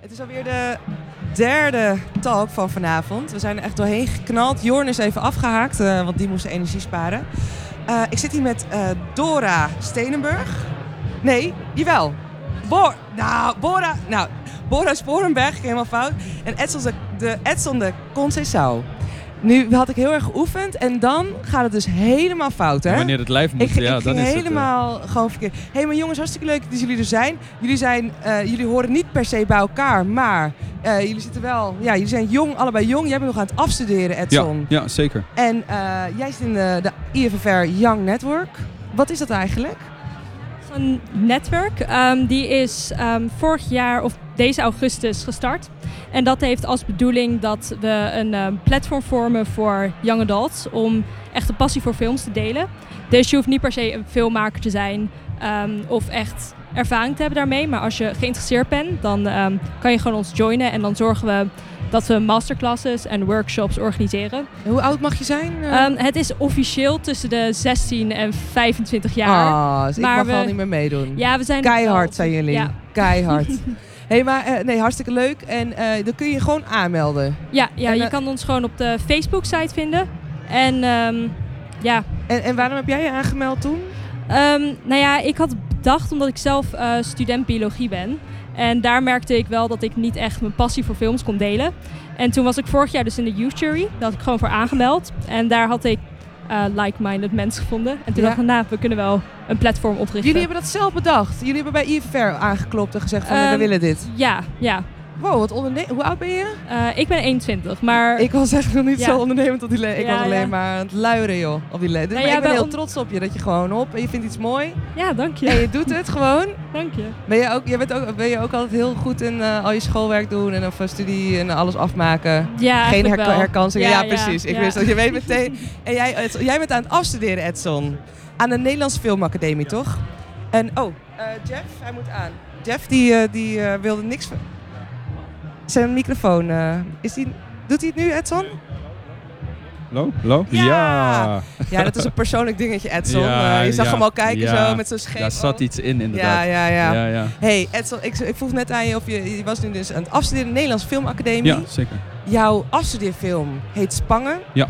Het is alweer de derde talk van vanavond. We zijn er echt doorheen geknald. Jorn is even afgehaakt, eh, want die moest energie sparen. Eh, ik zit hier met eh, Dora Stenenburg. Nee, jawel. Bo nou, Bora, nou, Bora Sporenberg, ik helemaal fout. En Edson de, de, Edson de Conceição. Nu had ik heel erg geoefend en dan gaat het dus helemaal fout, hè? Wanneer het live moet, Ik, ja, ik dan ging is het, eh, helemaal gewoon verkeerd. Hé, maar jongens, hartstikke leuk dat jullie er zijn. Jullie, zijn, eh, jullie horen niet per se bij elkaar, maar eh, jullie zitten wel... Ja, jullie zijn jong, allebei jong. Jij bent nog aan het afstuderen, Edson. ja, ja, zeker. En eh, jij zit in de, de IFFR Young Network. Wat is dat eigenlijk? Een netwerk, ehm, die is ehm, vorig jaar of deze augustus gestart. En dat heeft als bedoeling dat we een ehm, platform vormen voor young adults om echt een passie voor films te delen. Dus je hoeft niet per se een filmmaker te zijn ehm, of echt ervaring te hebben daarmee. Maar als je geïnteresseerd bent, dan ehm, kan je gewoon ons joinen en dan zorgen we dat we masterclasses en workshops organiseren. En Hoe oud mag je zijn? Eh, Ehm, het is officieel tussen de 16 en 25 jaar. Ah, dus ik maar mag we- gewoon niet meer meedoen. Ja, we zijn Keihard zijn jullie. Ja. Keihard. Hé, hey, maar eh, nee, hartstikke leuk. En eh, dan kun je je gewoon aanmelden. Ja, ja En, je eh, kan ons gewoon op de Facebook-site vinden. En ehm, ja, En, en waarom heb jij je aangemeld toen? ehm, nou ja, ik had bedacht omdat ik zelf eh, student biologie ben. En daar merkte ik wel dat ik niet echt mijn passie voor films kon delen. En toen was ik vorig jaar dus in de Youth Jury. Daar had ik gewoon voor aangemeld. En daar had ik eh, like-minded mensen gevonden. En toen Ja. dacht ik, nou, we kunnen wel een platform oprichten. Jullie hebben dat zelf bedacht. Jullie hebben bij IFFR aangeklopt en gezegd van we Ehm, willen dit. Ja, ja. Wow, wat onderne- Hoe oud ben je? Eh, ik ben 21, maar... Ik was echt nog niet Ja. zo ondernemend op die le- Ik Ja, was alleen ja. maar aan het luieren, joh. Op die le- Dus- Nou maar ja, ik ben bij heel on- trots op je. Dat je gewoon op en je vindt iets mooi. Ja, dank je. En je doet het gewoon. Dank je. Ben je ook, jij bent ook, ben je ook altijd heel goed in eh, al je schoolwerk doen en of eh, studie en alles afmaken? Ja, Geen eigenlijk herka- wel. herkansingen. Ja, precies. Ik ja. wist dat. Je weet meteen. En jij, Edson- jij bent aan het afstuderen, Edson. Aan de Nederlandse Filmacademie, toch? En, oh, eh, Jeff, hij moet aan. Jeff, die, eh, die eh, wilde niks van... Zijn microfoon, eh, is die... Doet hij het nu, Edson? Hallo? Hallo? Ja! Ja! Ja, dat is een persoonlijk dingetje, Edson. Ja, Eh, je zag ja, hem al kijken ja. zo, met zo'n scheef. Daar zat oog. iets in, Ja, inderdaad. ja, oh. ja. ja. ja. Hey Edson, ik, ik vroeg net aan je of je, je was nu dus aan het afstuderen in de Nederlandse Filmacademie. Ja, zeker. Jouw afstudeerfilm heet Spangen. Ja.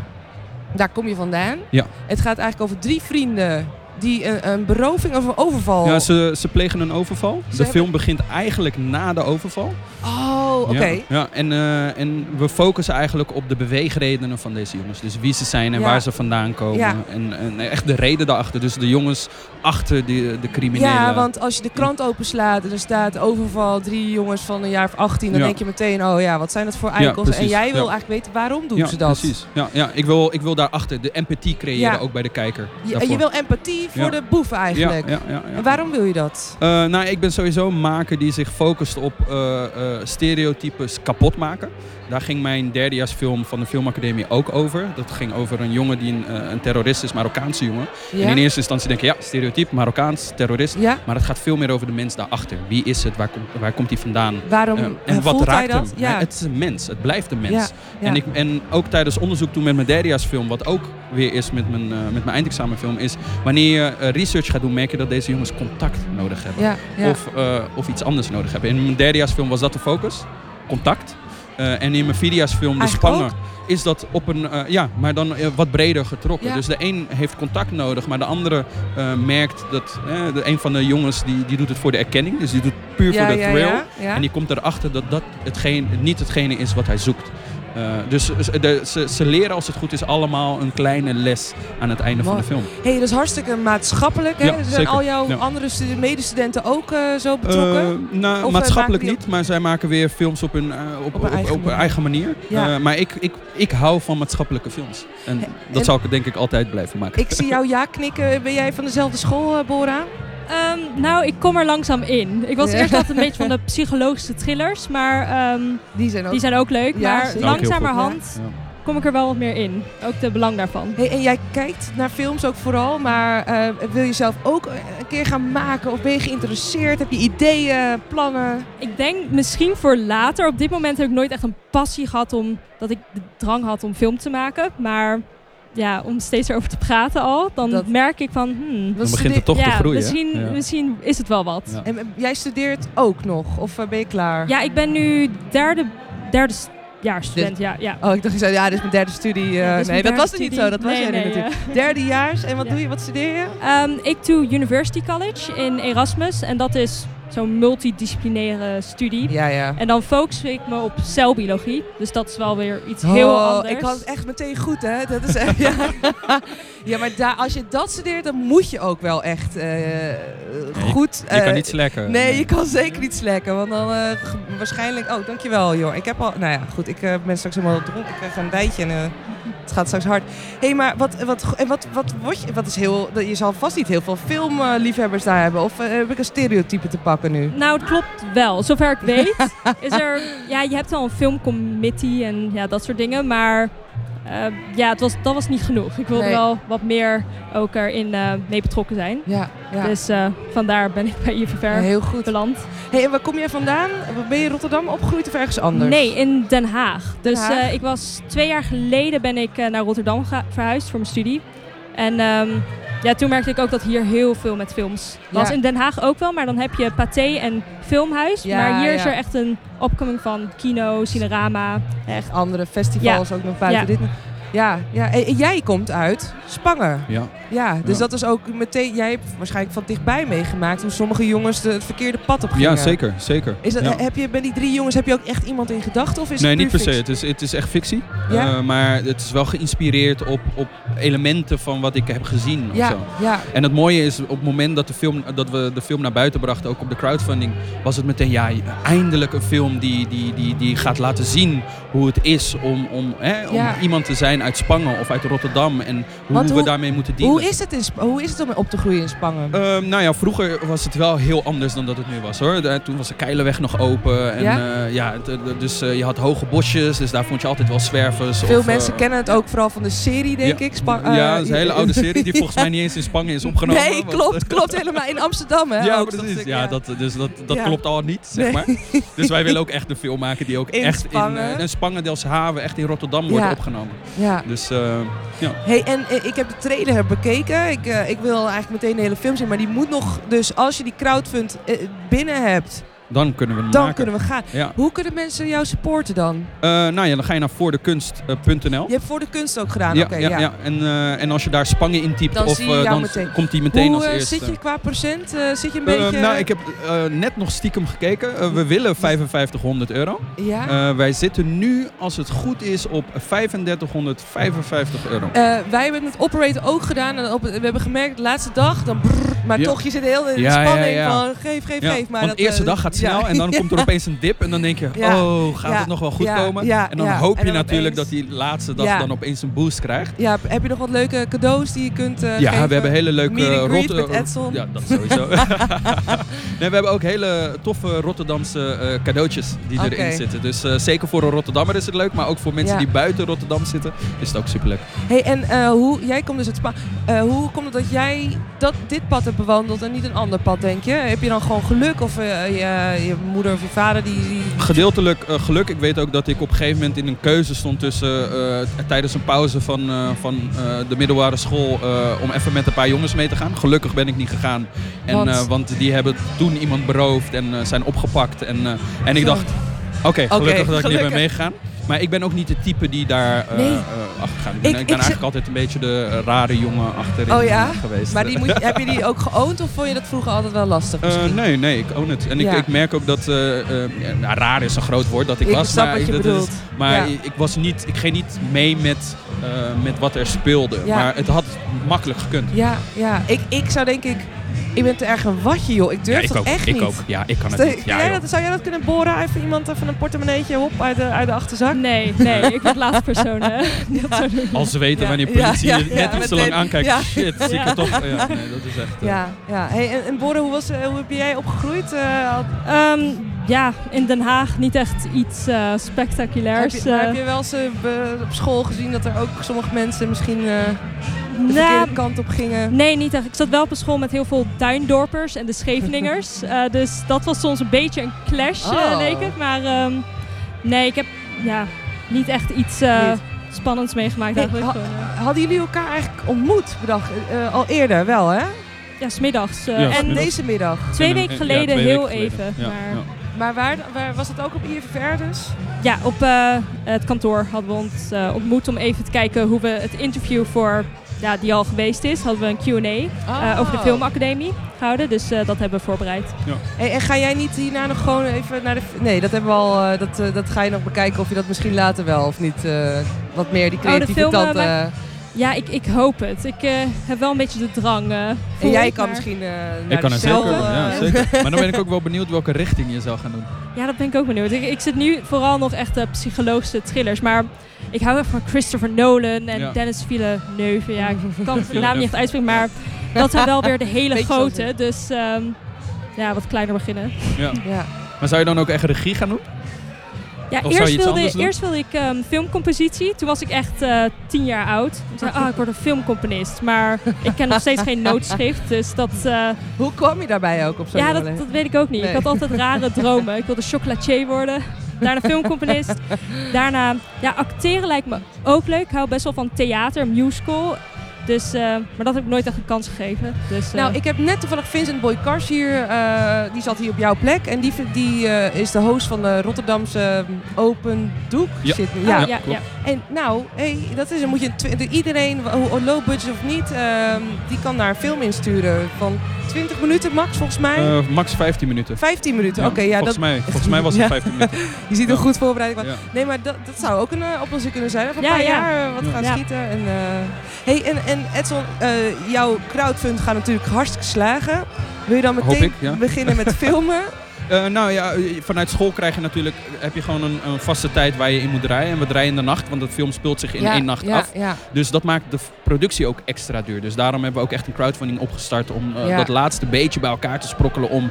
Daar kom je vandaan. Ja. Het gaat eigenlijk over drie vrienden die een, een beroving of een overval. Ja, ze, ze plegen een overval. de Oh. hebben- film begint eigenlijk na de overval. Oh, oké. Ja, ja en, eh, en we focussen eigenlijk op de beweegredenen van deze jongens. Dus wie ze zijn en Ja. waar ze vandaan komen. Ja. En, en echt de reden daarachter. Dus de jongens achter die, eh, de criminelen. Ja, want als je de krant openslaat en er staat overval drie jongens van een jaar of 18, dan Ja. denk je meteen, oh ja, wat zijn dat voor eikels? en precies. jij wil Ja. eigenlijk weten waarom doen ja, ze dat. precies. Ja, ja. Ik, wil, ik wil daarachter de empathie creëren, Ja. ook bij de kijker. Je, en daarvoor. je wil empathie voor Ja. de boef ja, eigenlijk. ja, ja, ja. En waarom wil je dat? Eh, nou, ik ben sowieso een maker die zich focust op eh, eh, stereotypes kapot maken. Daar ging mijn derdejaarsfilm van de Filmacademie ook over. Dat ging over een jongen die een, eh, een terrorist is, Marokkaanse jongen. En Ja? in eerste instantie denk je, ja, stereotype, Marokkaans, terrorist. ja? Maar het gaat veel meer over de mens daarachter. Wie is het? Waar komt waar komt hij vandaan? Waarom Eh, eh, en wat voelt raakt hij dat? hem? Ja. Hij- het is een mens. Het blijft een mens. Ja, ja. En, ik, en ook tijdens onderzoek toen met mijn derdejaarsfilm, wat ook weer is met mijn, eh, met mijn eindexamenfilm, is wanneer je eh, research gaat doen, merk je dat deze jongens contact nodig hebben. ja, ja. Of, eh, of iets anders nodig hebben. In mijn derdejaarsfilm was dat de focus, contact. Eh, en in mijn video'sfilm, De Eigenlijk Spangen, is dat op een, eh, ja, maar dan eh, wat breder getrokken. Ja. Dus de een heeft contact nodig, maar de andere eh, merkt dat, eh, de, een van de jongens die, die doet het voor de erkenning, dus die doet het puur ja, voor de ja, thrill. ja, ja. En die komt erachter dat dat hetgeen, niet hetgene is wat hij zoekt. Eh, dus ze- de- ze, ze leren als het goed is allemaal een kleine les aan het einde van Mooi. de film. Hé, dat is hartstikke maatschappelijk. Hè? Ja, Zijn zeker. al jouw Ja. andere stu- medestudenten ook eh, zo betrokken? Eh, nou, Of, maatschappelijk eh, maken niet, maar zij maken weer films op hun, eh, op, op, op- op eigen, manier. Ja. Eh, maar ik, ik, ik hou van maatschappelijke films. En en- dat zou ik denk ik altijd blijven maken. Ik zie jou ja knikken. Ben jij van dezelfde school, eh, Bora? Ehm, nou, ik kom er langzaam in. Ik was Ja. eerst altijd een beetje van de psychologische thrillers, maar ehm, Die zijn ook. die zijn ook leuk. Ja, maar zeker. langzamerhand Ja. kom ik er wel wat meer in. Ook de belang daarvan. Hey, en jij kijkt naar films ook vooral, maar eh, wil je zelf ook een keer gaan maken? Of ben je geïnteresseerd? Heb je ideeën, plannen? Ik denk misschien voor later. Op dit moment heb ik nooit echt een passie gehad om dat ik de drang had om film te maken. Maar ja, om steeds erover te praten al, dan Dat- merk ik van, Wat hmm, Dan begint studeer- het toch te ja, groeien. Misschien, Ja. misschien is het wel wat. Ja. Ja, En eh, jij studeert ook nog, of eh, ben je klaar? ik ben nu derde, derde s- jaar student. Dit- Ja, ja. Oh, ik dacht, je zei, ja, dit is mijn derde studie. eh, Ja, dit is nee, mijn dat was derde niet studie. zo, dat was Nee, jij nee, nu natuurlijk. ja. Derdejaars, en wat Ja. doe je, wat studeer je? Ehm, ik doe University College in Erasmus en dat is zo'n multidisciplinaire studie. Ja, ja. En dan focus ik me op celbiologie, dus dat is wel weer iets heel Oh, anders. Ik had het echt meteen goed, hè? Dat is echt, ja. ja, maar daar, als je dat studeert, dan moet je ook wel echt eh, goed... Je kan eh, niet slekken. Nee, je kan zeker niet slekken, want dan eh, g- waarschijnlijk... Oh, dankjewel, joh. Ik heb al... Nou ja, goed, ik eh, ben straks helemaal dronken. Ik krijg een dijtje en eh, het gaat straks hard. Hé, hey, maar wat, wat, en wat, wat, word je... Wat is heel, je zal vast niet heel veel filmliefhebbers daar hebben. Of eh, heb ik een stereotype te pakken nu? Nou, het klopt wel. Zover ik weet is er... Ja, je hebt al een filmcommittee en ja, dat soort dingen. Maar eh, ja, het was, dat was niet genoeg. Ik wilde Nee. wel wat meer ook erin eh mee betrokken zijn. Ja, ja. Dus eh, vandaar ben ik bij Ja, IVR heel goed. beland. hey, en waar kom jij vandaan? Ben je in Rotterdam opgegroeid of ergens anders? Nee, in Den Haag. Dus Den Haag. eh, ik was twee jaar geleden ben ik eh, naar Rotterdam ga- verhuisd voor mijn studie. En ehm, ja, toen merkte ik ook dat hier heel veel met films was. Ja. In Den Haag ook wel, maar dan heb je Pathé en Filmhuis. Ja, maar hier is ja. er echt een opkoming van kino, cinerama. Echt. andere festivals ook nog buiten Ja. dit. Ja, ja. En, en jij komt uit Spangen. Ja. Ja, dus Ja. dat is ook meteen... Jij hebt waarschijnlijk van dichtbij meegemaakt hoe sommige jongens de, het verkeerde pad op gingen. ja, zeker. zeker. Is dat, Ja. heb je, bij die drie jongens heb je ook echt iemand in gedachten? Of is nee, het niet per se. fictie? Het is, het is echt fictie. Ja? Eh, maar het is wel geïnspireerd op, op elementen van wat ik heb gezien. of Ja, zo. ja. En het mooie is, op het moment dat, de film, dat we de film naar buiten brachten, ook op de crowdfunding, was het meteen ja, eindelijk een film die, die, die, die gaat laten zien hoe het is om, om, hè, om Ja. iemand te zijn uit Spangen of uit Rotterdam en hoe Want we hoe- daarmee moeten dealen. Hoe is, het in, Sp- hoe is het om op te groeien in Spangen? Ehm, nou ja, vroeger was het wel heel anders dan dat het nu was hoor. Daar- toen was de Keilerweg nog open. En, Ja? ja? ja, het- het- dus eh, je had hoge bosjes, dus daar vond je altijd wel zwervers. Veel of, mensen eh, kennen het ook vooral van de serie, denk ja. ik. Spa- ja, eh, dat is een hele oude serie die volgens mij niet eens in Spangen is opgenomen. Nee, want- eh, klopt, klopt helemaal. In Amsterdam, hè? Ja, ook, dat precies. ik, Ja, dat, dus dat, dat Ja. klopt al niet, zeg Nee. maar. Dus wij willen ook echt een film maken die ook In echt in, Spangen. eh, in Spangen, Delshaven, echt in Rotterdam wordt Ja. opgenomen. ja. Dus eh, Hey, en eh, ik heb de trailer bekeken. Ik, eh, ik wil eigenlijk meteen de hele film zien, maar die moet nog. Dus als je die crowdfund eh, binnen hebt, dan kunnen we hem dan maken. kunnen we gaan. Ja. Hoe kunnen mensen jou supporten dan? Eh, nou ja, dan ga je naar voordekunst.nl. Je hebt voor de kunst ook gedaan. Oh. Ja, Oké, ja, ja. En, eh, en als je daar Spangen intypt, Dan of, zie je eh, jou dan meteen. komt die meteen Hoe als eh, eerste. zit je qua procent? Eh, zit je een Eh, beetje... nou, ik heb eh, net nog stiekem gekeken. Eh, we willen 5500 euro. Ja? Eh, wij zitten nu, als het goed is, op 3555 euro. Eh, wij hebben het met Operate ook gedaan. En op, we hebben gemerkt, de laatste dag, dan brrr, maar Ja. toch, je zit heel in de Ja, ja, spanning ja. van geef, geef, Ja, geef. Maar want dat, de eerste eh, dag gaat ja. snel en dan komt er opeens een dip en dan denk je, Ja. oh, gaat Ja. het nog wel goed Ja. komen? Ja. En dan Ja. hoop je En dan natuurlijk opeens- dat die laatste dag Ja. dan opeens een boost krijgt. Ja, heb je nog wat leuke cadeaus die je kunt eh, ja, geven? we hebben hele leuke eh, Meet and greet Rotte- met Edson. Ja, dat sowieso. nee, we hebben ook hele toffe Rotterdamse eh, cadeautjes die Oké. erin zitten. Dus eh, zeker voor een Rotterdammer is het leuk, maar ook voor mensen Ja. die buiten Rotterdam zitten is het ook superleuk. Hey, en eh, hoe, jij komt dus uit Spa. eh, hoe komt het dat jij dat, dit pad hebt bewandeld en niet een ander pad, denk je? Heb je dan gewoon geluk? Of eh, je, je moeder of je vader die... die... Gedeeltelijk eh, geluk. Ik weet ook dat ik op een gegeven moment in een keuze stond tussen eh, t- tijdens een pauze van, eh, van eh, de middelbare school eh, om even met een paar jongens mee te gaan. Gelukkig ben ik niet gegaan. En, Want? want? want die hebben toen iemand beroofd en eh, zijn opgepakt. En, eh, en ik dacht, oké, gelukkig dat ik niet gelukkig. ben meegegaan. Maar ik ben ook niet de type die daar eh Nee. eh, achter gaat. Ik Ik- ben, ik ben ik eigenlijk altijd een beetje de eh, rare jongen achterin Oh ja? eh, geweest. Maar die moet, je- heb je die ook geoond of vond je dat vroeger altijd wel lastig Eh, misschien? nee, nee, ik own het. En Ja. ik, ik merk ook dat, eh, eh, ja, nou, raar is een groot woord dat ik, Ik was. snap maar wat je dat bedoelt. maar Ja. ik, ik was niet, ik ging niet mee met, eh, met wat er speelde. Ja. Maar het had makkelijk gekund. Ja, ja. Ik, ik zou denk ik... Ik ben te erg een watje, joh. Ik durf ik dat ook. echt ik niet. ook. Ja, ik kan het Stel- niet. Ja, jij joh. dat, zou jij dat kunnen boren? Even iemand van een portemonneetje hop uit de, uit de achterzak? Nee, nee, ik word laatste persoon. hè. Dat zou doen. Als ze weten Ja. wanneer politie Ja, ja, je ja, net iets te meteen. lang aankijkt. Ja. Shit, zie ik Ja. het toch. Ja, nee, dat is echt... eh, Ja, ja. Hey, en, en Boren, hoe, was, eh, hoe heb jij opgegroeid? Eh, had- Ehm, ja, in Den Haag niet echt iets eh, heb, spectaculairs. je, maar eh. heb je wel eens eh, be- op school gezien dat er ook sommige mensen misschien eh, de Nou, verkeerde kant op gingen? Nee, niet echt. Ik zat wel op een school met heel veel tuindorpers en de Scheveningers. Eh, dus dat was soms een beetje een clash, eh, Oh. leek het. Maar ehm, nee, ik heb ja, niet echt iets eh, Niet. spannends meegemaakt Nee, ah. eigenlijk. ha- Gewoon, eh, Hadden jullie elkaar eigenlijk ontmoet, bedacht, eh, al eerder wel, hè? ja, smiddags. eh, Ja, en en smiddags. deze middag. twee En- weken en- ja, geleden twee heel weken geleden. even. Ja, maar, ja. ja. Maar waar, waar was het ook op IVR dus? op eh, het kantoor hadden we ons eh, ontmoet om even te kijken hoe we het interview voor, ja, die al geweest is, hadden we een Q&A eh, Oh. over de filmacademie gehouden. Dus eh, dat hebben we voorbereid. Hey, en ga jij niet hierna nog gewoon even naar de... Nee, dat hebben we al... eh, dat, eh, dat ga je nog bekijken of je dat misschien later wel of niet. eh, wat meer die de creatieve film, eh, kant. eh. maakt- Ja, ik, ik hoop het. Ik eh, heb wel een beetje de drang. eh, en voel jij ik, kan maar- misschien eh naar Ik kan het zeker dezelfde, doen, ja, eh, zeker. Maar dan ben ik ook wel benieuwd welke richting je zou gaan doen. Ja, dat ben ik ook benieuwd. Ik, ik zit nu vooral nog echt de psychologische thrillers. Maar ik hou heel erg van Christopher Nolan en Ja. Dennis Villeneuve. Ja, ik kan de naam niet echt uitspreken, maar dat zijn wel weer de hele Beetje grote. zoals Dus ehm, ja, wat kleiner beginnen. Ja. Ja. Maar zou je dan ook echt regie gaan doen? Ja, zou je iets eerst wilde, anders doen? eerst wilde ik ehm, filmcompositie. Toen was ik echt eh, tien jaar oud. Ik zei, ah, ik word een filmcomponist. Maar ik ken nog steeds geen noodschrift. Dus dat, eh, Hoe kwam je daarbij ook op zo'n ja, dat, moment? dat weet ik ook niet. Nee. Ik had altijd rare dromen. Ik wilde chocolatier worden. Daarna filmcomponist. Daarna, ja, acteren lijkt me ook leuk. Ik hou best wel van theater, musical. Dus, eh, maar dat heb ik nooit echt een kans gegeven. Dus, eh, Nou, ik heb net toevallig Vincent Boykars hier. eh, die zat hier op jouw plek. En die, vind- die eh, is de host van de Rotterdamse mm, Open Doek. Ja. Zit, oh, ja. ja, klopt. En nou, hey, dat is, dan moet je twi- iedereen, wa- hoe- hoe low budget of niet, ehm, die kan daar een film insturen van 20 minuten max volgens mij. Eh, max 15 minuten. 15 minuten, Ja, oké. ja, volgens, dat, mij, volgens mij was het Ja. 15 minuten. je ziet hoe ja. goed voorbereid ik was. Ja. Nee, maar dat, dat zou ook een eh, oplossing kunnen zijn. Even een Ja, paar ja. jaar eh, wat Ja. gaan Ja. schieten. En, eh, hey, en, en Edson, eh, jouw crowdfund gaat natuurlijk hartstikke slagen. Wil je dan Hoop meteen ik, ja. beginnen met filmen? Eh, nou ja, eh, vanuit school krijg je natuurlijk heb je gewoon een, een vaste tijd waar je in moet draaien. En we draaien in de nacht, want het film speelt zich in één nacht ja, af. Ja. Dus dat maakt de f- productie ook extra duur. Dus daarom hebben we ook echt een crowdfunding opgestart om eh, Ja. dat laatste beetje bij elkaar te sprokkelen om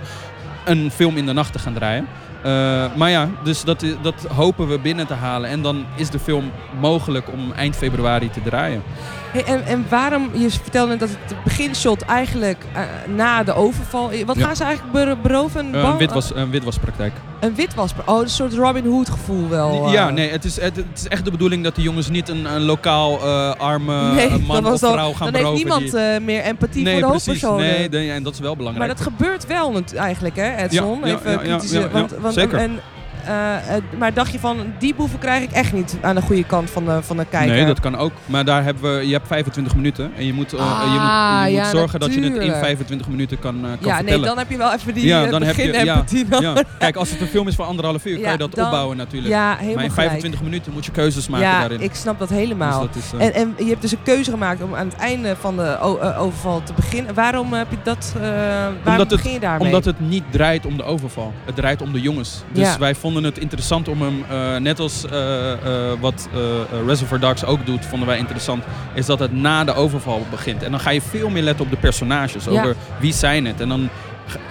een film in de nacht te gaan draaien. Eh, maar ja, dus dat, i- dat hopen we binnen te halen. En dan is de film mogelijk om eind februari te draaien. Hey, en, en waarom, je vertelde net dat het beginshot eigenlijk eh, na de overval... is. Wat Ja. gaan ze eigenlijk ber- beroven? Een, Eh, bang- een, witwas, een witwaspraktijk. Een witwas. Oh, een soort Robin Hood gevoel wel. eh. Ja, nee, het is, het, het is echt de bedoeling dat die jongens niet een, een lokaal eh, arme Nee, eh, man dat was of dan- vrouw gaan Dan heeft beroven. niemand die- eh, meer empathie nee, voor de precies. hoofdpersonen. Nee, nee, en dat is wel Maar belangrijk. dat gebeurt wel nat- eigenlijk, hè, Edson? Ja, ja, Even ja, ja, kritische- ja, ja, want, want, zeker. En, eh, eh, maar dacht je van, die boeven krijg ik echt niet aan de goede kant van de, van de kijker? Nee, dat kan ook. Maar daar hebben we, je hebt 25 minuten en je moet, eh, Ah, je moet, je moet ja, zorgen dat je het in natuurlijk. 25 minuten kan, eh, kan ja, nee, vertellen. dan heb je wel even die Ja, eh, dan heb je- ja, beginempathie nodig. ja. Kijk, als het een film is van anderhalf uur, Ja, kan je dat dan- opbouwen natuurlijk. Ja, maar helemaal in gelijk. 25 minuten moet je keuzes maken ja, daarin. ik snap dat Dus helemaal. dat is, eh, en, en je hebt dus een keuze gemaakt om aan het einde van de o- eh, overval te beginnen. Waarom heb je dat? eh, waarom het- begin je daarmee? Omdat het niet draait om de overval. Het draait om de jongens. Dus Ja. wij vonden het interessant om hem, eh, net als eh, eh, wat eh, eh, Reservoir Dogs ook doet, vonden wij interessant, is dat het na de overval begint. En dan ga je veel meer letten op de personages, Ja. over wie zijn het. En dan,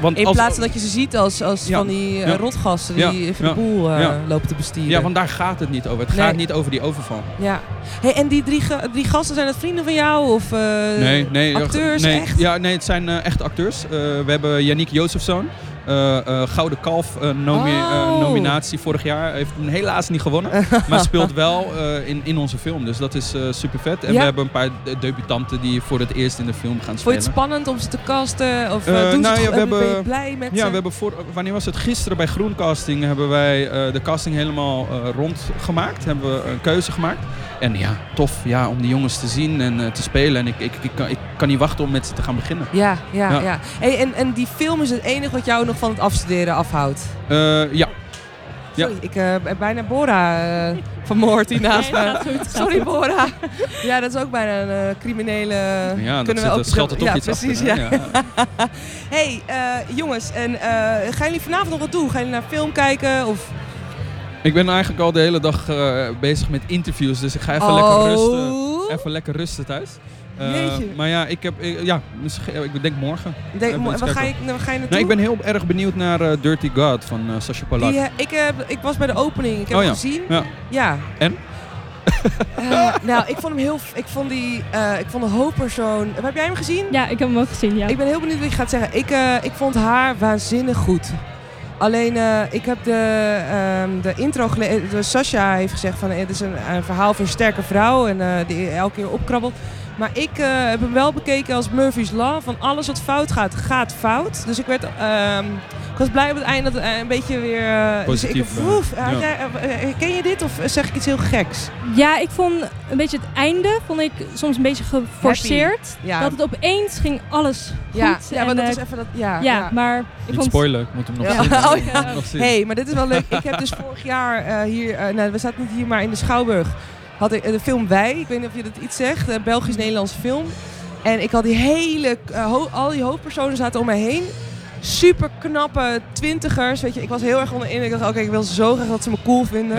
want In als, plaats van dat je ze ziet als, als Ja, van die eh, ja. rotgasten Ja, die even de ja, boel eh, ja. lopen te bestieren. Ja, want daar gaat het niet over. Het Nee. gaat niet over die overval. Ja. Hey, en die drie, ga- drie gasten, zijn dat vrienden van jou? Of, eh, Nee, nee. acteurs, nee, echt? Ja, nee, het zijn eh, echt acteurs. Eh, we hebben Yannick Jozefzoon. eh, eh, Gouden Kalf eh, nomi- Oh. eh, nominatie vorig jaar. Heeft hem helaas niet gewonnen. maar speelt wel eh, in, in onze film. Dus dat is super vet. En Ja. we hebben een paar de- debutanten die voor het eerst in de film gaan Vond je het spelen. spannend om ze te casten? Of eh, Eh, doen nou ze het ja, goed? we ben je hebben- blij met Ja, ze? we hebben voor, wanneer was het? Gisteren bij Groencasting hebben wij eh, de casting helemaal eh, rondgemaakt. Hebben we een keuze gemaakt. En ja, tof ja, om die jongens te zien en eh, te spelen. En ik, ik, ik, kan, ik kan niet wachten om met ze te gaan beginnen. Ja, ja, ja. Ja. Hey, en, en die film is het enige wat jou nog van het afstuderen afhoudt? Eh, ja, Ja. Sorry, ik eh, heb bijna Bora eh, vermoord hier naast Nee, me. gaat goed, gaat Sorry, goed. Bora. Ja, dat is ook bijna een eh, criminele... Ja, Kunnen dat zit- we ook dat schuilt er toch ja, iets precies, achter. hè? ja. hey, eh, jongens, en, eh, gaan jullie vanavond nog wat doen? Gaan jullie naar film kijken? Of... Ik ben eigenlijk al de hele dag eh, bezig met interviews, dus ik ga even lekker rusten. Even lekker rusten thuis. Eh, Oh. Jeetje. maar ja, ik heb, ik- ja, misschien, ik denk morgen. Denk, Even mo- iets waar, ga je, kijken. waar ga je nou naartoe? Nee, ik ben heel erg benieuwd naar eh, Dirty God van eh Sacha Pollak. Die, eh, ik, heb, ik was bij de opening, ik heb Oh hem ja, gezien. ja. Ja. En? Eh, nou, ik vond hem heel... Ik vond, die, eh, ik vond de hoofdpersoon... Heb jij hem gezien? Ja, ik heb hem ook gezien, ja. Ik ben heel benieuwd wat je gaat zeggen. Ik, eh, ik vond haar waanzinnig goed. Alleen eh, ik heb de, ehm, de intro gelezen. Sasha heeft gezegd van eh, het is een, een verhaal van een sterke vrouw en eh, die elke keer opkrabbelt. Maar ik eh, heb hem wel bekeken als Murphy's Law. Van alles wat fout gaat, gaat fout. Dus ik werd. ehm, ik was blij op het einde dat eh, een beetje weer. eh, Positief, Dus ik, eh, woef, ja. had jij- eh, eh, ken je dit of zeg ik iets heel geks? Ja, ik vond een beetje het einde vond ik soms een beetje geforceerd. Ja, Dat het opeens ging alles goed. ja, ja en, maar dat eh, is even dat. Ja, ja, ja. maar ik Niet vond spoiler, ik moet hem nog Ja. zien. Oh, Ik moet ja. hem nog zien. Hé, hey, maar dit is wel leuk. Ik heb dus vorig jaar eh, hier, eh, nou, we zaten niet hier, maar in de Schouwburg, had ik eh, de film Wij. Ik weet niet of je dat iets zegt, een Belgisch-Nederlandse film. En ik had die hele, eh, ho- al die hoofdpersonen zaten om mij heen. Super knappe twintigers, weet je. Ik was heel erg onder de indruk. Ik dacht, oké, ik wil zo graag dat ze me cool vinden.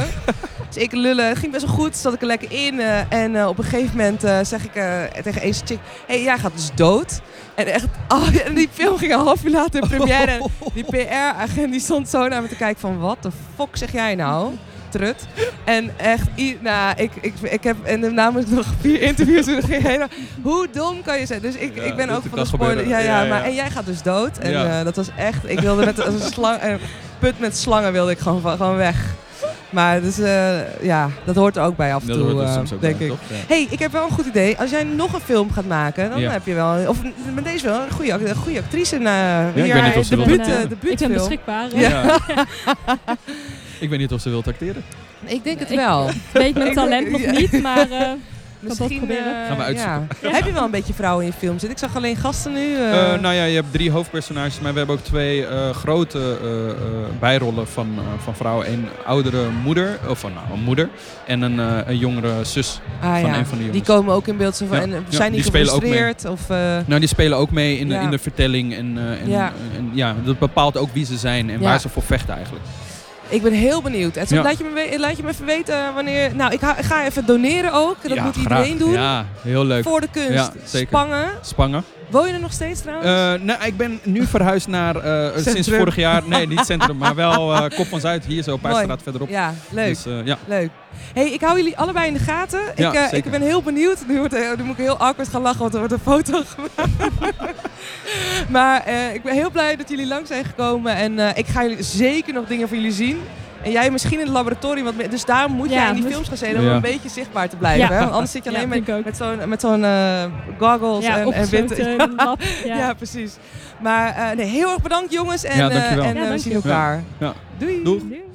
dus ik lullen, het ging best wel goed, zat ik er lekker in. eh, en eh, op een gegeven moment eh, zeg ik eh, tegen een chick, hé, hey, jij gaat dus dood. En echt, oh, en die film ging een half uur later in première. En die PR-agent die stond zo naar me te kijken van... wat de fuck zeg jij nou, trut? En echt, i- nou, ik, ik, ik heb en daarna moest ik nog vier interviews doen. Ging helemaal- Hoe dom kan je zijn? Dus ik, Ja, ik ben dat ook van kan de spoiler. Ja, gebeuren. ja, Ja, ja. maar en jij gaat dus dood. En Ja. eh, dat was echt, ik wilde met als een slang, een put met slangen wilde ik gewoon, van- gewoon weg. Maar dus, eh, ja, dat hoort er ook bij af en Dat toe, hoort er eh, soms ook denk bij, ik. toch? Ja. Hé, hey, ik heb wel een goed idee. Als jij nog een film gaat maken, dan Ja. heb je wel... Of met deze wel een goede, act- een goede actrice. na weet hier, niet of ze de wil buurt, acteren. eh, de ik ben buurtfilm. beschikbaar. Ja. Ja. Ik weet niet of ze wilt acteren. Ik denk het Ik- wel. Weet mijn talent nog Ja. niet, maar eh, Misschien proberen. eh, Gaan we uitzoeken. ja. Heb je wel een beetje vrouwen in je film zitten? Ik zag alleen gasten nu. eh. Eh, nou ja, je hebt drie hoofdpersonages, maar we hebben ook twee eh, grote eh, eh, bijrollen van, eh, van vrouwen. Een oudere moeder, of van nou, een moeder, en een, eh, een jongere zus. Ah, van ja. een van de die jongens. komen ook in beeld. Zo van, Ja, en eh, ja, zijn die, die spelen ook mee. gefrustreerd? Of, eh, Nou, die spelen ook mee in, de- Ja. in de vertelling en, eh, en, Ja. en ja, dat bepaalt ook wie ze zijn en Ja. waar ze voor vechten eigenlijk. ik ben heel benieuwd. Edson, Ja. laat, je me, we- laat je me even weten wanneer... Nou, ik, ha- ik ga even doneren ook. Dat ja, moet graag. iedereen doen. Ja, heel leuk. Voor de kunst. Ja, zeker. Spangen. Spangen. Woon je er nog steeds trouwens? Eh, nou, ik ben nu verhuisd naar, eh, sinds Centrum. vorig jaar, nee niet centrum, maar wel eh, Kop van Zuid, hier zo, een paar Mooi. straat verderop. ja, leuk. Dus, eh, ja. Leuk. hey, ik hou jullie allebei in de gaten. Ja, ik, eh, ik zeker. ben heel benieuwd. Nu, wordt, eh, nu moet ik heel awkward gaan lachen, want er wordt een foto gemaakt. maar eh, ik ben heel blij dat jullie lang zijn gekomen. En eh, ik ga jullie zeker nog dingen van jullie zien. En jij misschien in het laboratorium. Wat meer, dus daar moet Ja, jij in die moet- films gaan zitten om Ja. een beetje zichtbaar te blijven. Ja. Hè? Want anders zit je Ja, alleen vind ik met, ook. met zo'n met zo'n eh, goggles ja, en, en opgesloten witte... in een lab. Ja. Ja. precies. Maar eh, nee, heel erg bedankt jongens. En, Ja, eh, dankjewel. en Ja, eh, we zien dankjewel. elkaar. Ja. Doei. Doeg. Doei.